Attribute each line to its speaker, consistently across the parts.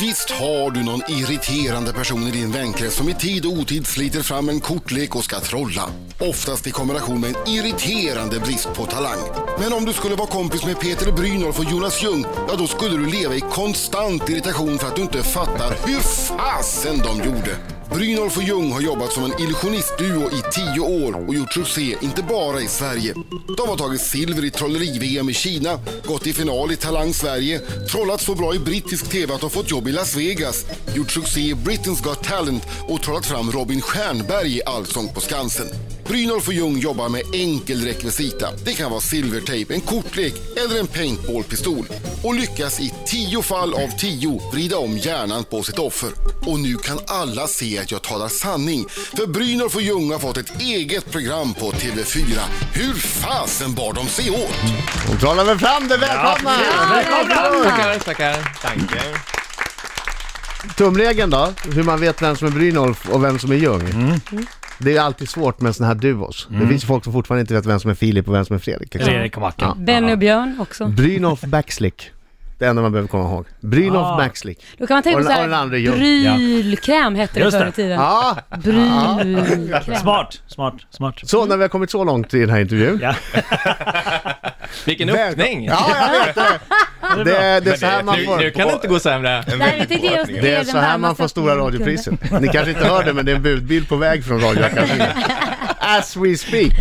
Speaker 1: Visst har du någon irriterande person i din vänkrets som i tid och otid sliter fram en kortlek och ska trolla. Oftast i kombination med en irriterande brist på talang. Men om du skulle vara kompis med Peter Brynolf och Jonas Ljung, ja då skulle du leva i konstant irritation för att du inte fattar hur fasen de gjorde. Brynolf och Ljung har jobbat som en illusionistduo i tio år och gjort succé inte bara i Sverige. De har tagit silver i trolleri-VM i Kina, gått i final i Talang Sverige, trollat så bra i brittisk TV att de fått jobb i Las Vegas, gjort succé i Britain's Got Talent och trollat fram Robin Stjernberg i Allsång på Skansen. Brynolf och Ljung jobbar med enkel rekvisita. Det kan vara silvertejp, en kortlek eller en paintballpistol. Och lyckas i tio fall av tio vrida om hjärnan på sitt offer. Och nu kan alla se att jag talar sanning. För Brynolf och Ljung har fått ett eget program på TV4. Hur fasen bar de sig åt?
Speaker 2: Då trollar vi fram det, välkomna!
Speaker 3: Tackar, tackar. Tackar.
Speaker 2: Tumregeln då, hur man vet vem som är Brynolf och vem som är Ljung. Mm. Det är ju alltid svårt med såna här duos. Det finns ju folk som fortfarande inte vet vem som är Filip och vem som är Fredrik.
Speaker 3: Eller
Speaker 2: Liksom.
Speaker 3: Erik och Mackan.
Speaker 4: Benny och Björn
Speaker 2: Mm.
Speaker 4: också.
Speaker 2: Brynolf Backslick. Det enda man behöver komma ihåg. Brynolf
Speaker 3: Ah.
Speaker 2: Backslick.
Speaker 4: Då kan man tänka
Speaker 2: Och
Speaker 4: på
Speaker 2: den- och den
Speaker 4: såhär,
Speaker 2: andra gör-
Speaker 4: brylkräm hette det
Speaker 3: Just
Speaker 4: förr
Speaker 3: det.
Speaker 4: i tiden.
Speaker 2: Ja,
Speaker 4: Brylkräm.
Speaker 3: Smart, smart, smart.
Speaker 2: så när vi har kommit så långt i den här intervjun.
Speaker 3: Ja.
Speaker 5: Vilken
Speaker 2: Välkom-
Speaker 5: öppning!
Speaker 2: Ja, jag vet det! Det, det är så här man
Speaker 5: nu,
Speaker 2: får...
Speaker 5: nu kan det inte gå sämre.
Speaker 4: Nej, vi tänkte ge oss
Speaker 2: Det är
Speaker 4: den
Speaker 2: så här man
Speaker 4: varmaste
Speaker 2: får stora
Speaker 4: öppningen vi kunde.
Speaker 2: radiopriset. Ni kanske inte hör det, men det är en budbil på väg från radioakademin. As we speak.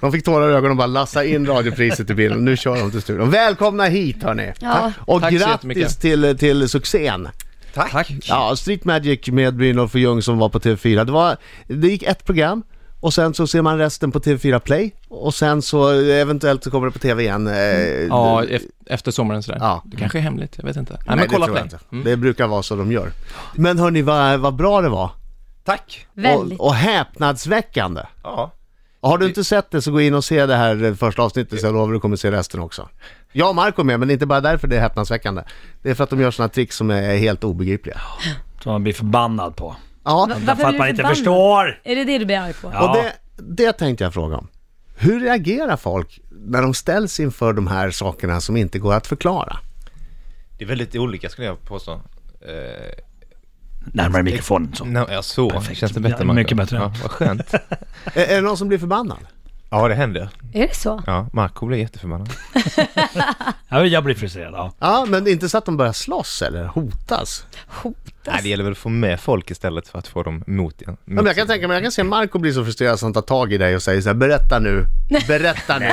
Speaker 2: De fick tårar i ögonen och bara lassa in radiopriset i bilen. Nu kör de till studion. Välkomna hit hörni!
Speaker 4: Ja.
Speaker 2: Och
Speaker 5: Tack så
Speaker 2: grattis
Speaker 5: jättemycket.
Speaker 2: till, till succén!
Speaker 5: Tack!
Speaker 2: Ja, Street Magic med Brynolf och Ljung som var på TV4. Det, var, det gick ett program och sen så ser man resten på TV4 Play och sen så eventuellt så kommer det på TV igen. eh,
Speaker 5: Ja, ef- efter sommaren sådär.
Speaker 2: Ja.
Speaker 5: Det kanske är hemligt, jag vet inte. Nej,
Speaker 2: Nej,
Speaker 5: men kolla
Speaker 2: det, tror
Speaker 5: på
Speaker 2: jag
Speaker 5: den. Mm.
Speaker 2: inte. det brukar vara så de gör. Men hörni, vad, vad bra det var!
Speaker 6: Tack!
Speaker 4: Väldigt.
Speaker 2: Och, och häpnadsväckande.
Speaker 6: Ja.
Speaker 2: Har du inte sett det så gå in och se det här eh, första avsnittet så jag lovar du kommer se resten också. Jag och Marco är med men det är inte bara därför det är häpnadsväckande. Det är för att de gör sådana tricks som är helt obegripliga.
Speaker 3: Som man blir förbannad på.
Speaker 2: Ja,
Speaker 4: Va-
Speaker 3: För
Speaker 4: Varför
Speaker 3: att man
Speaker 4: blir
Speaker 3: inte
Speaker 4: du förbannad?
Speaker 3: förstår.
Speaker 4: Är det det du blir arg på?
Speaker 3: Ja.
Speaker 2: och det, det tänkte jag fråga om. Hur reagerar folk när de ställs inför de här sakerna som inte går att förklara?
Speaker 6: Det är väldigt olika skulle jag påstå. Eh,
Speaker 3: Närmare mikrofonen så.
Speaker 6: nej, ja, så.
Speaker 3: Perfekt.
Speaker 6: Känns det bättre?
Speaker 3: Ja,
Speaker 6: Marco?
Speaker 3: mycket bättre.
Speaker 6: Ja, vad skönt.
Speaker 2: Är, är det någon som blir förbannad?
Speaker 6: Ja, det händer.
Speaker 4: Är det så?
Speaker 6: Ja, Marco blir jätteförbannad.
Speaker 3: Ja, Jag blir frustrerad, ja.
Speaker 2: Ja, men det är inte så att de börjar slåss eller hotas?
Speaker 6: Nej, det gäller väl att få med folk istället för att få dem mot igen.
Speaker 2: Ja, men jag kan tänka mig, jag kan se Marco bli så frustrerad så han tar tag i dig och säger så här, berätta nu, berätta nu.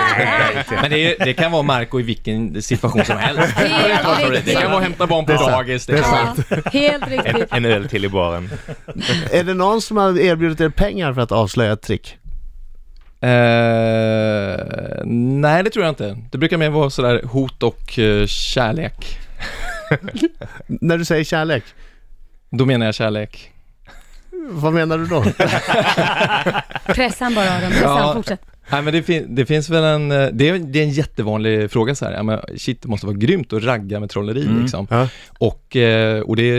Speaker 5: Men det, är- det kan vara Marco i vilken situation som helst.
Speaker 4: Helt
Speaker 5: Det
Speaker 4: riktigt.
Speaker 5: kan vara att hämta barn på dagis. Det kan vara...
Speaker 4: Ja, helt riktigt.
Speaker 6: En öl till i baren.
Speaker 2: Är det någon som har erbjudit er pengar för att avslöja ett trick?
Speaker 5: Eh, nej, det tror jag inte. Det brukar mer vara sådär hot och eh, kärlek.
Speaker 2: N- När du säger kärlek,
Speaker 5: Då menar jag kärlek.
Speaker 2: vad menar du då?
Speaker 4: Pressa han bara Adam, pressa
Speaker 5: Ja.
Speaker 4: han, fortsätt.
Speaker 5: Nej men det, fin- det finns väl en, eh, det är, det är en jättevanlig fråga så här. Ja, men shit det måste vara grymt att ragga med trolleri liksom.
Speaker 2: Mm. Ja.
Speaker 5: Och, eh, och det,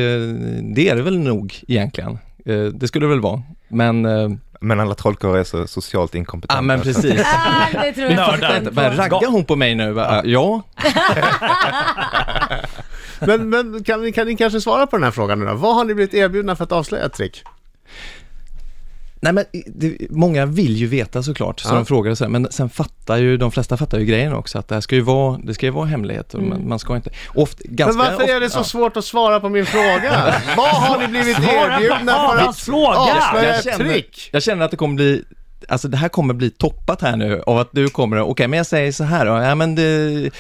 Speaker 5: det är det väl nog egentligen. Eh, Det skulle det väl vara. Men, eh,
Speaker 6: Men alla trollkarlar är så socialt inkompetenta.
Speaker 5: ja men precis.
Speaker 4: Ah, det tror jag inte
Speaker 3: Nördar.
Speaker 4: han
Speaker 5: Men
Speaker 4: på.
Speaker 5: raggar hon på mig nu? Va? Ja.
Speaker 2: Men, men kan, ni- kan ni kanske svara på den här frågan nu då? Vad har ni blivit erbjudna för att avslöja ett trick?
Speaker 5: Nej men det, många vill ju veta såklart, så
Speaker 2: Ja.
Speaker 5: de frågar och så här, men sen fattar ju, de flesta fattar ju grejen också att det här ska ju vara, det ska ju vara hemlighet och man, man ska inte, oft,
Speaker 2: Men
Speaker 5: ganska
Speaker 2: varför är det så svårt att svara på min fråga? Vad har ni blivit
Speaker 3: Svara på
Speaker 2: erbjudna för
Speaker 3: Adams
Speaker 2: att
Speaker 3: fråga!
Speaker 2: avslöja
Speaker 5: jag
Speaker 2: ett
Speaker 5: känner,
Speaker 2: trick?
Speaker 5: jag känner att det kommer bli Alltså det här kommer bli toppat här nu av att du kommer, okej men jag säger så här då, ja men det,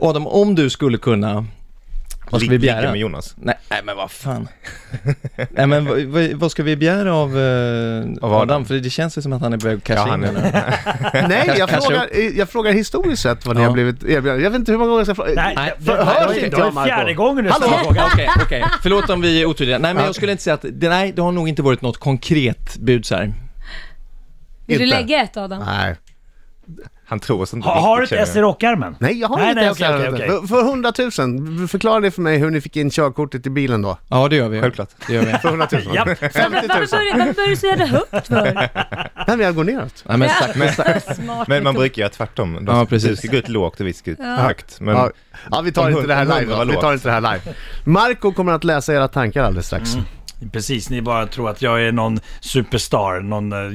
Speaker 5: Adam om du skulle kunna, vad ska vi
Speaker 6: Ligga
Speaker 5: begära?
Speaker 6: med Jonas.
Speaker 5: Nej, nej men vad fan. nej men vad, vad, vad ska vi begära av, eh,
Speaker 6: Adam?
Speaker 5: Adam? För det känns ju som att han är på väg att
Speaker 6: Ja,
Speaker 5: casha in
Speaker 6: han är-
Speaker 5: den här.
Speaker 2: Nej, jag
Speaker 5: Kanske-
Speaker 2: frågar, jag frågar historiskt sett vad ni
Speaker 5: Ja.
Speaker 2: har blivit erbjudna. Jag vet inte hur många gånger jag ska fråga.
Speaker 3: Nej,
Speaker 2: För-
Speaker 3: det-
Speaker 2: hörs
Speaker 3: det-
Speaker 2: inte
Speaker 3: det
Speaker 2: jag,
Speaker 3: är fjärde
Speaker 2: Marco?
Speaker 3: gången du ställer
Speaker 5: Okej,
Speaker 3: frågan.
Speaker 5: okej, okej. Förlåt om vi är otydliga. Nej men jag skulle inte säga att, det, nej det har nog inte varit något konkret bud så här.
Speaker 4: Vill du
Speaker 2: Inte.
Speaker 4: lägga ett Adam?
Speaker 2: Nej.
Speaker 6: Han tror oss inte
Speaker 3: Ha, har du ett S i rockärmen?
Speaker 2: Nej, jag har
Speaker 3: Nej,
Speaker 2: inte
Speaker 3: nej,
Speaker 2: ens
Speaker 3: okej, okej,
Speaker 2: det.
Speaker 3: okej.
Speaker 2: För- För 100 000, förklara det för mig hur ni fick in körkortet i bilen då.
Speaker 5: Ja, det gör vi.
Speaker 6: Självklart.
Speaker 5: Det gör vi.
Speaker 2: För 100 000?
Speaker 3: Japp.
Speaker 2: 50 000?
Speaker 4: Varför börjar varför börjar du säga det högt för?
Speaker 2: Nej, vi har gått neråt.
Speaker 5: Nej, men sakta, sakta.
Speaker 4: Smart
Speaker 6: Men man
Speaker 4: metod.
Speaker 6: brukar göra tvärtom. De,
Speaker 5: Ja,
Speaker 6: Du
Speaker 5: precis.
Speaker 6: ska gå ut lågt och vi ska ut högt. Men
Speaker 2: Ja, ja, vi tar
Speaker 6: Mm. Om
Speaker 2: inte det här
Speaker 6: hundra
Speaker 2: live.
Speaker 6: var
Speaker 2: då. Vi tar
Speaker 6: lågt.
Speaker 2: inte det här live. Marco kommer att läsa era tankar alldeles strax.
Speaker 3: Precis, ni bara tror att jag är någon superstar, någon eh,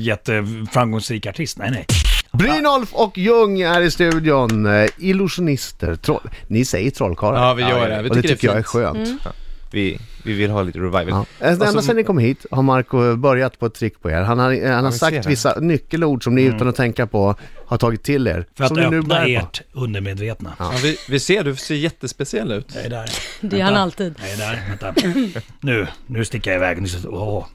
Speaker 3: jätteframgångsrik artist. Nej, nej.
Speaker 2: Brynolf och Ljung är i studion. Eh, Illusionister. Troll. Ni säger trollkarlar.
Speaker 5: Ja, vi gör
Speaker 6: Ja,
Speaker 5: det. Vi
Speaker 2: och det
Speaker 5: tycker
Speaker 2: tycker
Speaker 5: det
Speaker 2: jag är
Speaker 5: är fint.
Speaker 2: skönt.
Speaker 3: Mm.
Speaker 6: vi, vi vill ha lite revival.
Speaker 2: Ja. Eh,
Speaker 6: Och så-
Speaker 2: Ända sedan ni kom hit har Marco eh, börjat på ett trick på er. Han har, eh, han har
Speaker 6: vi ser
Speaker 2: sagt
Speaker 6: det.
Speaker 2: vissa nyckelord som ni utan att tänka på har tagit till er.
Speaker 3: För att
Speaker 2: som ni nu
Speaker 3: öppna
Speaker 2: bär på.
Speaker 3: ert undermedvetna.
Speaker 5: Ja, vi, vi ser, du ser jättespeciell ut.
Speaker 3: Jag är där.
Speaker 4: Det är han alltid.
Speaker 3: Jag är där. Vänta. Nu, nu sticker jag iväg. Nu, så- åh.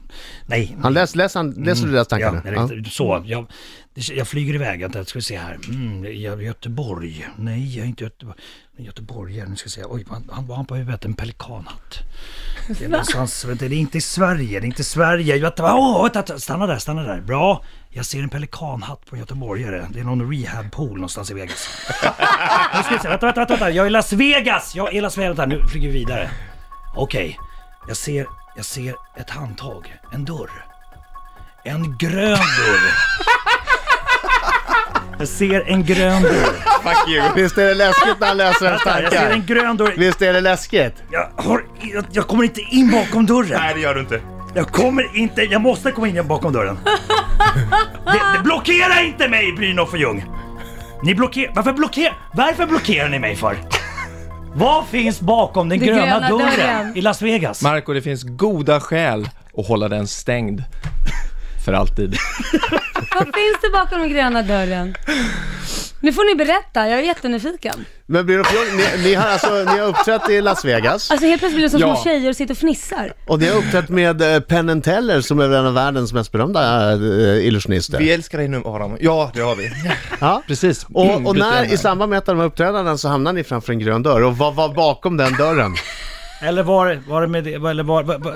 Speaker 3: Nej.
Speaker 2: Han läs, läs, han, läser du deras tankar
Speaker 3: Ja,
Speaker 2: nu?
Speaker 3: eller
Speaker 2: Ja.
Speaker 3: inte- Så, jag, jag flyger iväg. Vänta, ska vi se här. Mm, jag- Göteborg. Nej, jag är inte Göteborg. Göteborg, nu ska vi se. Oj, han, han var han på huvudet. En pelikanhatt. Det är, någonstans, vänta, det är inte i Sverige, det är inte i Sverige. Vänta, åh, vänta, vänta, stanna där, stanna där. Bra. Jag ser en pelikanhatt på en göteborgare. Det är någon rehabpool någonstans i Vegas. nu ska vi se, vänta, vänta, vänta, vänta. Jag är i Las Vegas! Jag är i Las Vegas. Vänta, nu flyger vi vidare. Okej, jag, ser, jag ser ett handtag, en dörr. En grön dörr. Jag ser en grön dörr.
Speaker 6: Fuck you!
Speaker 2: Visst är det läskigt när han läser ens
Speaker 3: Jag ser
Speaker 2: tankar?
Speaker 3: en grön dörr.
Speaker 2: Visst är det läskigt?
Speaker 3: Jag, har, jag, jag kommer inte in bakom dörren.
Speaker 6: Nej, det gör du inte.
Speaker 3: Jag kommer inte, jag måste komma in bakom dörren. det, det, blockera inte mig Brynolf och Ljung! Ni blockerar, varför blockerar, varför blockerar ni mig för? Vad finns bakom den
Speaker 4: Den
Speaker 3: gröna,
Speaker 4: gröna
Speaker 3: dörren,
Speaker 4: dörren.
Speaker 3: i Las Vegas?
Speaker 5: Marco, det finns goda skäl att hålla den stängd. För alltid.
Speaker 4: Vad finns det bakom den gröna dörren? Nu får ni berätta, jag är jättenyfiken.
Speaker 2: Men blir det fjol, ni, ni, har alltså, ni har uppträtt i Las Vegas
Speaker 4: Alltså helt plötsligt blir det som
Speaker 5: Ja.
Speaker 4: små tjejer och sitter och fnissar.
Speaker 2: och ni har uppträtt med eh, Penn and Teller som är en av världens mest berömda eh, illusionister.
Speaker 6: Vi älskar dig nu Adam. Ja, det har vi.
Speaker 2: Ja.
Speaker 5: Precis. Mm,
Speaker 2: Och, och
Speaker 5: lite
Speaker 2: när
Speaker 5: grann.
Speaker 2: i samband med ett av de här uppträdandena så hamnar ni framför en grön dörr och vad var bakom den dörren?
Speaker 3: Eller var, var det med det, eller var, var, var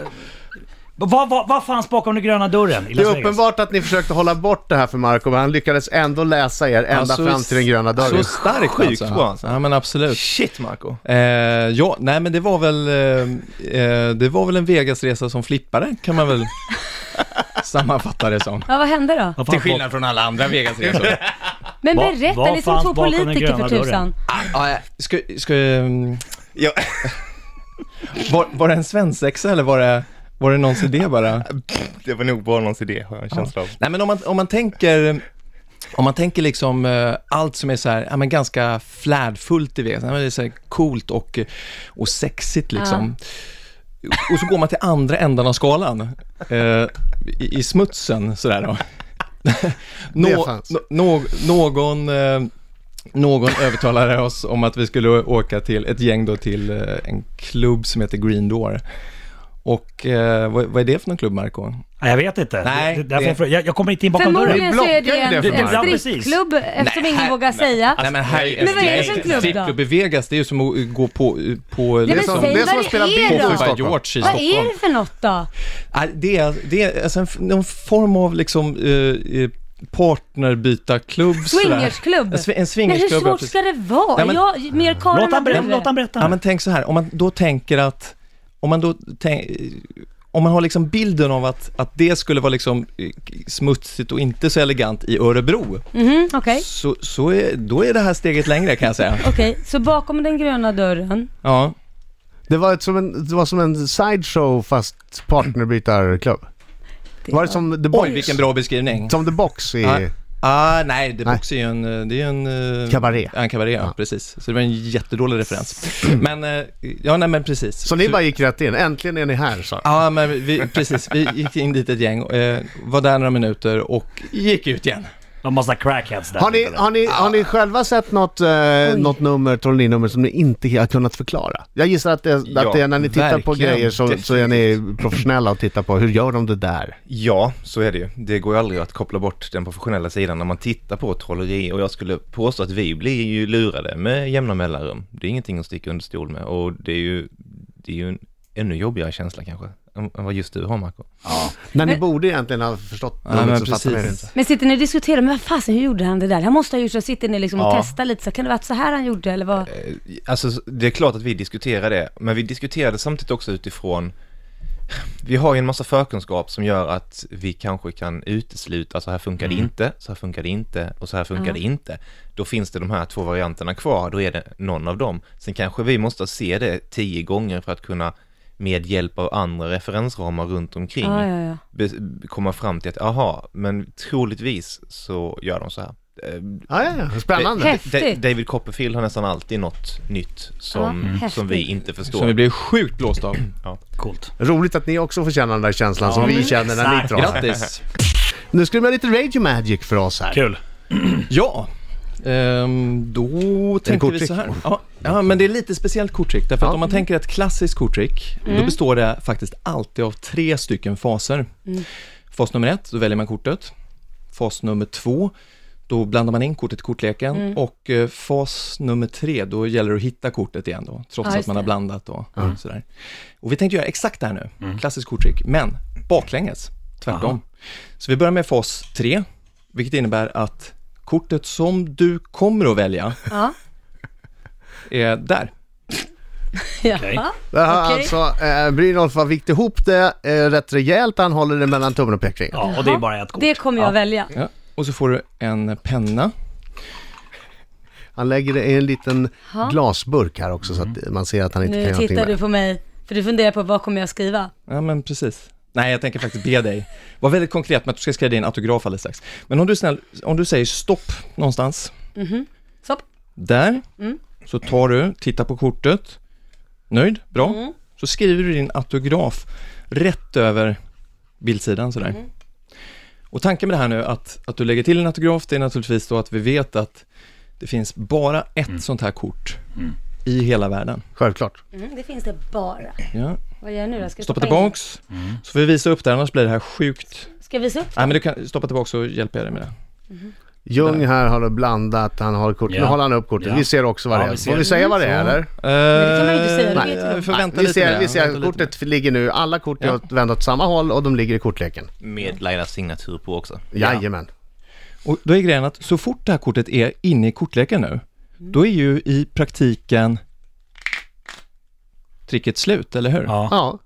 Speaker 3: vad, vad, vad fanns bakom den gröna dörren
Speaker 2: Det
Speaker 3: i Las
Speaker 2: är
Speaker 3: Vegas?
Speaker 2: uppenbart att ni försökte hålla bort det här för Marco men han lyckades ändå läsa er ända
Speaker 5: Alltså,
Speaker 2: fram till den gröna dörren.
Speaker 5: Så starkt
Speaker 6: Sjukt
Speaker 5: alltså.
Speaker 6: bra, alltså.
Speaker 5: Ja men absolut.
Speaker 6: Shit Marco.
Speaker 5: Eh, ja, nej men det var väl, eh, eh, det var väl en Vegasresa som flippade kan man väl sammanfatta det som.
Speaker 4: Ja, vad hände då?
Speaker 3: Vad fanns
Speaker 5: från alla andra Vegasresor.
Speaker 4: Men
Speaker 3: Va-
Speaker 4: berätta,
Speaker 3: vad
Speaker 4: ni är som
Speaker 3: fanns
Speaker 4: två
Speaker 3: bakom den
Speaker 4: politiker
Speaker 3: gröna
Speaker 4: för
Speaker 3: dörren?
Speaker 4: tusan.
Speaker 5: ah, ja, ska, ska, ehm,
Speaker 6: Ja.
Speaker 5: var, var det en svensexa eller var det, var det någons idé bara?
Speaker 6: Det var nog bara någons idé har jag en känsla av.
Speaker 5: Nej men om man, om man tänker, om man tänker liksom eh, allt som är så här, ja men ganska flärdfullt i Vegas, ja, men det är så här coolt och, och sexigt liksom. Och så går man till andra änden av skalan, eh, i, i smutsen sådär då. Nå,
Speaker 2: fanns.
Speaker 5: nå, nå, någon, eh, någon övertalade oss om att vi skulle åka till ett gäng då till eh, en klubb som heter Green Door. Och eh, vad, vad är det för någon klubb, Marco?
Speaker 3: Nej, jag vet inte.
Speaker 5: Nej,
Speaker 3: det, därför
Speaker 5: det-
Speaker 3: jag frågar. jag, jag kommer inte in bakom dörren.
Speaker 4: Förmodligen så är det
Speaker 2: blockar ju det
Speaker 4: en,
Speaker 2: för
Speaker 3: fan. Ja,
Speaker 4: en
Speaker 3: precis.
Speaker 4: strippklubb eftersom ingen
Speaker 5: här-
Speaker 4: vågar säga.
Speaker 5: Nej men här
Speaker 4: Men vad är det för klubb då?
Speaker 5: Strippklubb i Vegas, det är ju som att eh, gå på... på liksom,
Speaker 4: Ja, men
Speaker 2: som-
Speaker 4: säg
Speaker 2: det är
Speaker 4: vad
Speaker 2: som att spela
Speaker 4: är
Speaker 2: bingo
Speaker 4: då.
Speaker 2: i
Speaker 5: På
Speaker 2: Stockholm.
Speaker 5: George i
Speaker 4: Vad är
Speaker 5: Stockholm.
Speaker 4: det för något då?
Speaker 5: Nej, Ah, Det är, det är alltså en, f- någon form av liksom eh, eh, partnerbytarklubb. sådär.
Speaker 4: Swingersklubb?
Speaker 5: En, swi- en
Speaker 4: Men hur
Speaker 5: swingersklubb, ja,
Speaker 4: svårt
Speaker 5: precis.
Speaker 4: ska det vara?
Speaker 5: Nej, men-
Speaker 4: jag, mer Karin
Speaker 3: Låt han berätta,
Speaker 4: Abdulli.
Speaker 3: låt han berätta.
Speaker 5: Ja, men tänk så här, om man då tänker att, om man då tänk, eh, om man har liksom bilden av att, att det skulle vara liksom eh, smutsigt och inte så elegant i Örebro,
Speaker 4: Mhm, Okej,
Speaker 5: så, så är, då är det här steget längre kan jag säga.
Speaker 4: okej. Så bakom den gröna dörren.
Speaker 5: Ja,
Speaker 2: Det var, ett, som en, det var som en sideshow fast partnerbytarklubb. Var det som The Box?
Speaker 5: oj vilken bra beskrivning.
Speaker 2: Som The Box i...
Speaker 5: Ja. Ah, nej, The
Speaker 2: Nej.
Speaker 5: Box är ju en, eh, det är ju en... eh,
Speaker 2: Cabaret.
Speaker 5: Ja, en kabaré, ja. precis. Så det var en jättedålig referens. Men, eh, ja nej men precis.
Speaker 2: Så ni bara gick rätt in, äntligen är ni här så.
Speaker 5: Ja, men vi, precis. Vi gick in dit ett gäng, eh, var där några minuter och gick ut igen.
Speaker 3: De massa crackheads där.
Speaker 2: Har ni, har, ni, har ni själva sett något, eh, något nummer, trollinummer som ni inte har kunnat förklara? Jag gissar att det, att det är när ni tittar på
Speaker 5: verkligen.
Speaker 2: grejer så, så är ni professionella och tittar på hur gör de det där?
Speaker 6: Ja, så är det ju. Det går ju aldrig att koppla bort den professionella sidan när man tittar på trolleri och jag skulle påstå att vi blir ju lurade med jämna mellanrum. Det är ingenting att sticka under stol med och det är ju, det är ju en ännu jobbigare känsla kanske. än än Mm, vad just du har Marco.
Speaker 2: Men ni borde egentligen ha förstått
Speaker 5: Nej, men
Speaker 2: något, så fattar ni det
Speaker 5: precis.
Speaker 2: inte.
Speaker 4: Men sitter ni och diskuterar, men vad fasen, hur gjorde han det där? Han måste ha gjort så, sitter ni liksom och
Speaker 6: Ja.
Speaker 4: testar lite så, kan det varit så här han gjorde eller vad?
Speaker 6: Alltså det är klart att vi diskuterar det, men vi diskuterar det samtidigt också utifrån vi har ju en massa förkunskap som gör att vi kanske kan utesluta, så här funkar det inte, så här funkar det inte och så här funkar
Speaker 4: Ja.
Speaker 6: det inte. Då finns det de här två varianterna kvar, då är det någon av dem. Sen kanske vi måste se det tio gånger för att kunna med hjälp av andra referensramar runt omkring
Speaker 4: Ah, Ja, ja, ja.
Speaker 6: be- komma fram till att aha, men troligtvis så gör de så här. Eh,
Speaker 2: Ja, ja, ja. Spännande.
Speaker 4: Det- Häftigt.
Speaker 6: Da- David Copperfield har nästan alltid något nytt som,
Speaker 4: Ja, häftigt.
Speaker 6: som vi inte förstår.
Speaker 5: Som vi blev sjukt blåsta av.
Speaker 3: Coolt.
Speaker 2: Roligt att ni också får känna den där känslan som vi känner när ni trasar.
Speaker 5: Grattis!
Speaker 2: Nu ska det bli lite Radio Magic för oss här.
Speaker 3: Kul.
Speaker 5: Ja, ehm, då tänker vi
Speaker 2: korttrick?
Speaker 5: så här. Ja, ja, men det är lite speciellt korttrick. Därför att
Speaker 2: Ja. Mm.
Speaker 5: om man tänker ett klassiskt korttrick, då består det faktiskt alltid av tre stycken faser.
Speaker 2: Mm.
Speaker 5: Fas nummer ett, då väljer man kortet. Fas nummer två, då blandar man in kortet i kortleken.
Speaker 4: Mm.
Speaker 5: Och eh, fas nummer tre, då gäller det att hitta kortet igen då, trots
Speaker 4: Ja, just
Speaker 5: att man har
Speaker 4: det.
Speaker 5: blandat och sådär. Och vi tänkte göra exakt det här nu, klassiskt korttrick, men baklänges, tvärtom. Så vi börjar med fas tre, vilket innebär att kortet som du kommer att välja
Speaker 4: Ja.
Speaker 5: är där.
Speaker 3: Okej.
Speaker 4: Ja.
Speaker 2: Där har
Speaker 4: Okej.
Speaker 2: alltså eh, Brynolf har vikt ihop det eh, rätt rejält. Han håller det mellan tummen och pekfingret.
Speaker 3: Ja, och det är bara ett kort.
Speaker 4: Det kommer jag
Speaker 3: Ja.
Speaker 4: välja.
Speaker 5: Ja. Och så får du en penna.
Speaker 2: Han lägger det i en liten
Speaker 4: Ja.
Speaker 2: glasburk här också så
Speaker 3: Mm.
Speaker 2: att man ser att han inte
Speaker 4: Nu
Speaker 2: kan göra någonting
Speaker 4: tittar
Speaker 2: med
Speaker 4: du på mig, för du funderar på vad kommer jag skriva?
Speaker 5: Ja, men precis. Nej, jag tänker faktiskt be dig. Var väldigt konkret med att du ska skriva din autograf alldeles strax. Men om du, är snäll, om du säger stopp någonstans,
Speaker 4: Stopp.
Speaker 5: där,
Speaker 4: Mm.
Speaker 5: så tar du, tittar på kortet, nöjd, bra.
Speaker 4: Mm.
Speaker 5: Så skriver du din autograf rätt över bildsidan sådär.
Speaker 4: Mm.
Speaker 5: Och tanken med det här nu att, att du lägger till en autograf, det är naturligtvis då att vi vet att det finns bara ett
Speaker 2: Mm.
Speaker 5: sånt här kort i hela världen.
Speaker 2: Självklart.
Speaker 4: Mm, det finns det bara.
Speaker 5: Ja.
Speaker 4: Vad gör jag nu då? Ska jag
Speaker 5: Stoppa
Speaker 4: in?
Speaker 5: tillbaks,
Speaker 2: Mm.
Speaker 5: så får vi visa upp det, annars blir det här sjukt.
Speaker 4: Ska jag visa upp?
Speaker 5: Nej men du kan stoppa tillbaks så hjälper jag dig med det.
Speaker 2: Ljung här har då blandat, han har kort. Nu
Speaker 3: Ja.
Speaker 2: håller han upp kortet.
Speaker 3: Ja.
Speaker 2: Vi ser också vad
Speaker 3: Ja,
Speaker 2: det är.
Speaker 3: vi ser
Speaker 2: Får vi
Speaker 3: det.
Speaker 2: säga vad det är
Speaker 5: Mm.
Speaker 2: eller?
Speaker 5: Men
Speaker 4: det kan man
Speaker 5: Eh,
Speaker 4: ju inte säga, det vet ju
Speaker 5: vi
Speaker 4: man.
Speaker 5: får vänta
Speaker 2: vi
Speaker 5: lite med
Speaker 2: ser,
Speaker 5: det.
Speaker 2: vi ser
Speaker 5: Vänta lite med det.
Speaker 2: kortet ligger nu, alla kort är
Speaker 5: Ja.
Speaker 2: åt- vända åt samma håll och de ligger i kortleken.
Speaker 6: Med Lailas signatur på också.
Speaker 2: Jajamän.
Speaker 5: Och då är grejen att så fort det här kortet är inne i kortleken nu, då är ju i praktiken tricket slut, eller hur?
Speaker 3: Ja.
Speaker 2: Ja.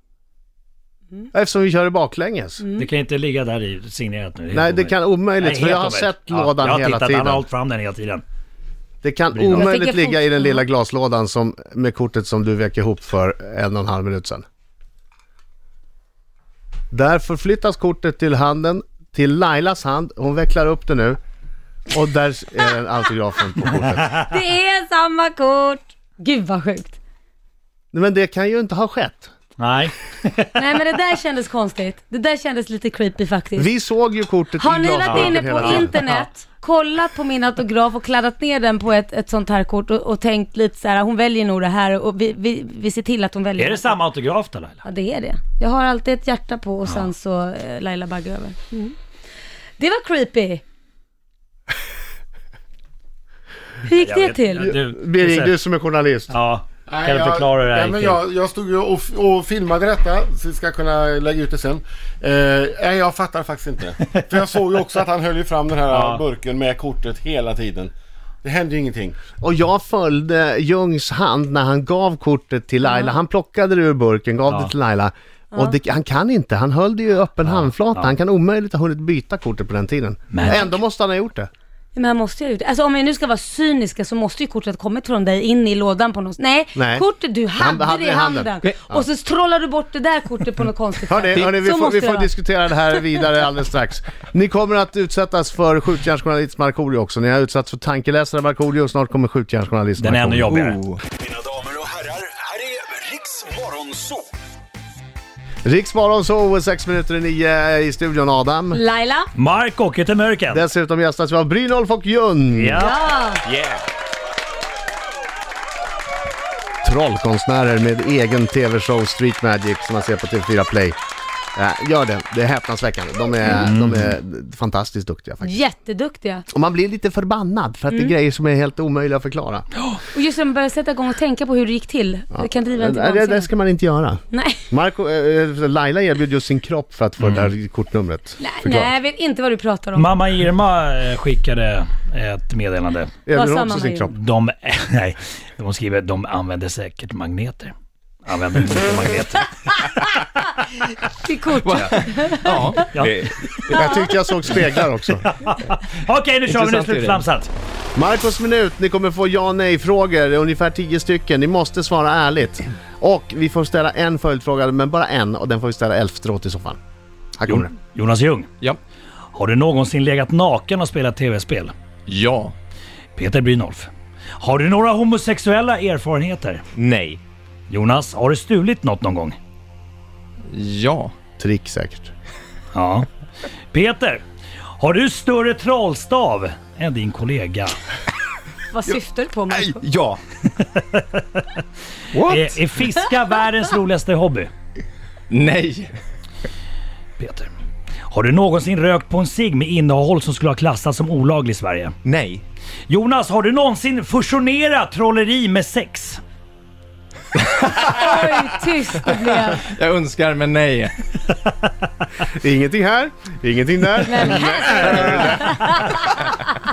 Speaker 4: Mm.
Speaker 2: Eftersom vi kör det baklänges.
Speaker 3: Det kan inte ligga där i signerat nu. är
Speaker 2: Nej,
Speaker 3: helt
Speaker 2: det kan omöjligt,
Speaker 3: Nej,
Speaker 2: för jag
Speaker 3: helt
Speaker 2: har
Speaker 3: omöjligt.
Speaker 2: sett
Speaker 3: Ja,
Speaker 2: lådan
Speaker 3: jag har
Speaker 2: hela
Speaker 3: tittat,
Speaker 2: tiden.
Speaker 3: Han har hållit fram den hela tiden.
Speaker 2: Det kan
Speaker 3: Brynolf.
Speaker 4: Jag
Speaker 2: omöjligt
Speaker 4: tänker
Speaker 2: ligga i den
Speaker 4: fort-
Speaker 2: lilla glaslådan som, med kortet som du vek ihop för en och en halv minut sedan. Där förflyttas kortet till handen, till Lailas hand. Hon vecklar upp det nu. Och där är den autografen på kortet.
Speaker 4: Det är samma kort! Gud vad sjukt.
Speaker 2: Nej, Men det kan ju inte ha skett.
Speaker 3: Nej.
Speaker 4: Nej men det där kändes konstigt. Det där kändes lite creepy faktiskt.
Speaker 2: Vi såg ju kortet
Speaker 4: Har
Speaker 2: i
Speaker 4: ni varit
Speaker 2: glasburken
Speaker 4: inne
Speaker 2: hela
Speaker 4: på
Speaker 2: tiden.
Speaker 4: internet, kollat på min autograf och kladdat ner den på ett, ett sånt här kort och, och tänkt lite så här, hon väljer nog det här och vi, vi, vi ser till att hon väljer
Speaker 3: Är det
Speaker 4: här.
Speaker 3: samma autograf då Laila?
Speaker 4: Ja, det är det. Jag har alltid ett hjärta på och sen så eh, Laila Bagge över. Mm. Det var creepy. Hur gick
Speaker 3: Jag
Speaker 4: det
Speaker 3: vet-
Speaker 4: till?
Speaker 3: Du,
Speaker 2: Birging, du
Speaker 3: du,
Speaker 2: som är journalist.
Speaker 3: ja,
Speaker 7: Nej,
Speaker 3: kan du förklara hur det här
Speaker 7: jag,
Speaker 3: gick
Speaker 7: nej, men
Speaker 3: till?
Speaker 7: jag, jag stod ju och, och filmade detta så vi ska kunna lägga ut det sen. Eh, nej, jag fattar faktiskt inte. För jag såg ju också att han höll ju fram den här
Speaker 3: Ja.
Speaker 7: burken med kortet hela tiden. Det hände ju ingenting.
Speaker 2: Och jag följde Ljungs hand när han gav kortet till Laila. Han plockade det ur burken, gav det till Laila. Och det, han kan inte, han höll det ju i öppen handflata. Han kan omöjligt ha hunnit byta kortet på den tiden.
Speaker 3: Magic.
Speaker 2: Ändå måste han ha gjort det.
Speaker 4: Men här måste jag ju... Alltså om vi nu ska vara cyniska så måste ju kortet kommit från dig in i lådan på något... Nej,
Speaker 2: Nej.
Speaker 4: kortet du hade,
Speaker 2: hade
Speaker 4: det i
Speaker 2: i handen.
Speaker 4: handen.
Speaker 5: Okej.
Speaker 4: Och så trollar du bort det där kortet på något konstigt
Speaker 2: Hörni, hörni vi,
Speaker 4: Så
Speaker 2: får, vi
Speaker 4: måste
Speaker 2: får
Speaker 4: jag.
Speaker 2: diskutera det här vidare alldeles strax. Ni kommer att utsättas för skjutjärnsjournalist Markoolio också. Ni har utsatts för tankeläsare Markoolio och snart kommer skjutjärnsjournalist
Speaker 3: Den är ännu
Speaker 2: Markoolio.
Speaker 3: jobbigare.
Speaker 8: Mina damer och herrar, här är Riks Morgonzoo!
Speaker 2: Riksmorgon så, sex minuter i nio i studion Adam.
Speaker 4: Laila?
Speaker 3: Mark och Peter Mörken.
Speaker 2: Dessutom gästas vi av Brynolf och Ljung.
Speaker 3: Ja.
Speaker 4: Ja.
Speaker 2: trollkonstnärer med egen tv-show Street Magic som man ser på TV4 Play. Nej, gör det. Det är häpnadsväckande. De är, de är fantastiskt duktiga faktiskt.
Speaker 4: Jätteduktiga.
Speaker 2: Och man blir lite förbannad för att
Speaker 4: Mm.
Speaker 2: det är grejer som är helt omöjliga att förklara.
Speaker 4: Och just när man börjar sätta igång och tänka på hur det gick till. Det kan driva en till
Speaker 2: Äh, det, det, det
Speaker 4: vansinne.
Speaker 2: ska man inte göra.
Speaker 4: Nej,
Speaker 2: Marco, eh, Laila erbjöd just sin kropp för att få det där kortnumret
Speaker 4: nej,
Speaker 2: förklarat.
Speaker 4: nej, jag vet inte vad du pratar om.
Speaker 3: Mamma Irma eh, skickade ett meddelande.
Speaker 2: Erbjöd
Speaker 4: Vad
Speaker 2: hon
Speaker 4: sa
Speaker 2: också
Speaker 4: mamma
Speaker 2: sin
Speaker 4: ju?
Speaker 2: kropp.
Speaker 3: De, nej, de skriver de använder säkert magneter. Använder mycket magneter.
Speaker 4: Till kort.
Speaker 5: Ja.
Speaker 3: Ja.
Speaker 6: Det,
Speaker 2: Jag tyckte jag såg speglar också.
Speaker 3: Okej, nu kör vi. Nu är det
Speaker 5: Intressant
Speaker 3: slutflamsat.
Speaker 2: Marcos minut, ni kommer få ja nej-frågor, ungefär 10 stycken. Ni måste svara ärligt. Och vi får ställa en följdfråga, men bara en, och den får vi ställa elftråt i så fall. Här kommer den.
Speaker 3: Jonas Ljung,
Speaker 5: Ja.
Speaker 3: har du någonsin legat naken och spelat tv-spel?
Speaker 5: ja.
Speaker 3: Peter Brynolf, har du några homosexuella erfarenheter?
Speaker 6: nej.
Speaker 3: Jonas, har du stulit något någon gång?
Speaker 5: Ja.
Speaker 2: Trick säkert.
Speaker 3: Ja. Peter, har du större trollstav än din kollega?
Speaker 4: Vad syftar du på Marco?
Speaker 5: Ja. What?
Speaker 3: Är, är fiska världens roligaste hobby?
Speaker 5: Nej.
Speaker 3: Peter. Har du någonsin rökt på en cigg med innehåll som skulle ha klassats som olaglig i Sverige?
Speaker 5: Nej.
Speaker 3: Jonas, har du någonsin fusionerat trolleri med sex?
Speaker 4: Oj, tyst det blev.
Speaker 5: Jag önskar, men nej.
Speaker 2: Ingenting här, ingenting där.
Speaker 4: Men här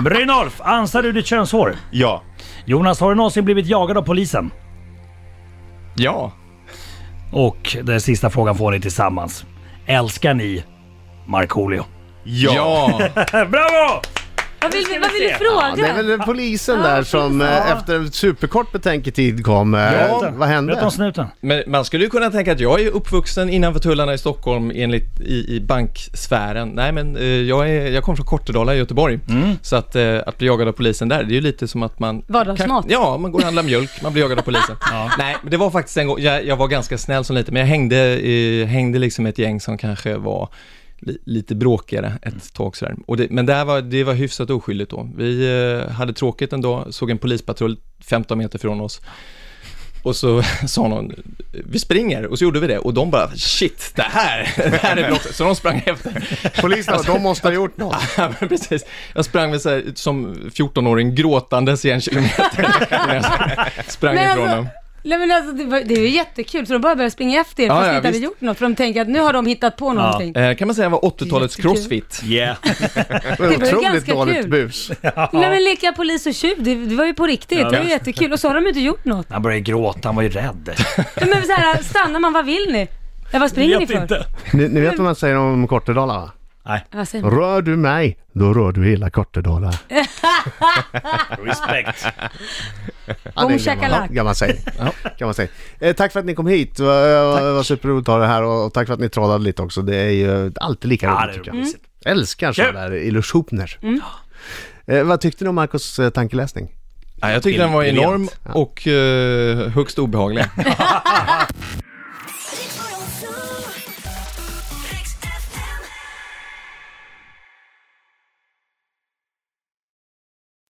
Speaker 3: Brynolf, ansar du ditt könshår?
Speaker 6: Ja.
Speaker 3: Jonas, har du någonsin blivit jagad av polisen?
Speaker 5: Ja.
Speaker 3: Och den sista frågan får ni tillsammans. Älskar ni Markoolio?
Speaker 5: Ja. ja.
Speaker 3: Eh, Bravo!
Speaker 4: Vad vill, vi- vad vill du
Speaker 2: Ja, det är
Speaker 4: fråga?
Speaker 2: väl polisen där som eh, efter en superkort betänketid kom. eh, vad
Speaker 3: Berätta om
Speaker 2: hände?
Speaker 3: snuten.
Speaker 5: Men man skulle ju kunna tänka att jag är uppvuxen innanför tullarna i Stockholm enligt i, i banksfären. Nej, men eh, jag, är, jag kom från Kortedala i Göteborg. Så att, eh, att bli jagad av polisen där, det är ju lite som att man...
Speaker 4: Vardagsmat.
Speaker 5: Kan- Ja, man går och handlar mjölk, man blir jagad av polisen. Nej, men det var faktiskt en gång, jag, jag var ganska snäll som liten, men jag hängde, eh, hängde liksom ett gäng som kanske var li, lite bråkigare ett tag sådär. Och det, men det, här var, det var hyfsat oskyldigt då. Vi eh, hade tråkigt en dag, såg en polispatrull 15 meter från oss. Och så sa någon, vi springer, och så gjorde vi det. Och de bara, shit, det här, det här är brottet. Så de sprang efter.
Speaker 2: Polisen, de måste ha gjort något.
Speaker 5: Ja, men precis. Jag sprang med så här, som 14-åring gråtandes i en kilometer. innan jag sprang
Speaker 4: Men
Speaker 5: ifrån
Speaker 4: alltså-
Speaker 5: dem.
Speaker 4: Nej men alltså det, var, det är ju jättekul så de bara börjar springa efter er
Speaker 5: Ja,
Speaker 4: fast
Speaker 5: ja,
Speaker 4: ni inte hade
Speaker 5: visst.
Speaker 4: gjort något för de tänker att nu har de hittat på någonting.
Speaker 5: Eh, kan man säga var 80-talets
Speaker 4: Jättekul.
Speaker 5: crossfit.
Speaker 3: Yeah.
Speaker 2: Det var otroligt
Speaker 4: ganska
Speaker 2: dåligt
Speaker 4: kul.
Speaker 2: bus.
Speaker 4: Nej men leka polis och tjuv, det, det var ju på riktigt. Det var ju jättekul och så har de inte gjort något.
Speaker 3: Han började gråta, han var ju rädd.
Speaker 4: Men, men så här, stannar man, vad vill ni? Ja, vad springer ni
Speaker 3: Vet
Speaker 4: för?
Speaker 3: inte.
Speaker 2: Ni, ni vet vad man säger om Kortedala va?
Speaker 4: Vad säger man?
Speaker 2: Rör du mig, då rör du hela Kortedala.
Speaker 3: Respekt.
Speaker 2: Ja, det är
Speaker 4: Om
Speaker 2: en gammal-
Speaker 4: shakalak.
Speaker 2: Kan man säga. Kan man säga. Eh, tack för att ni kom hit. Det var, det var superroligt att ha det här och, och tack för att ni trådade lite också. Det är ju alltid lika
Speaker 3: Ja,
Speaker 2: roligt
Speaker 3: det
Speaker 2: tycker
Speaker 3: är
Speaker 4: Mm.
Speaker 2: jag.
Speaker 3: mysigt.
Speaker 2: Älskar sådana där illusioner. Eh, vad tyckte ni om Marcos eh, tankeläsning?
Speaker 5: Ja, jag tyckte den var
Speaker 3: Briljant.
Speaker 5: enorm och eh, högst obehaglig.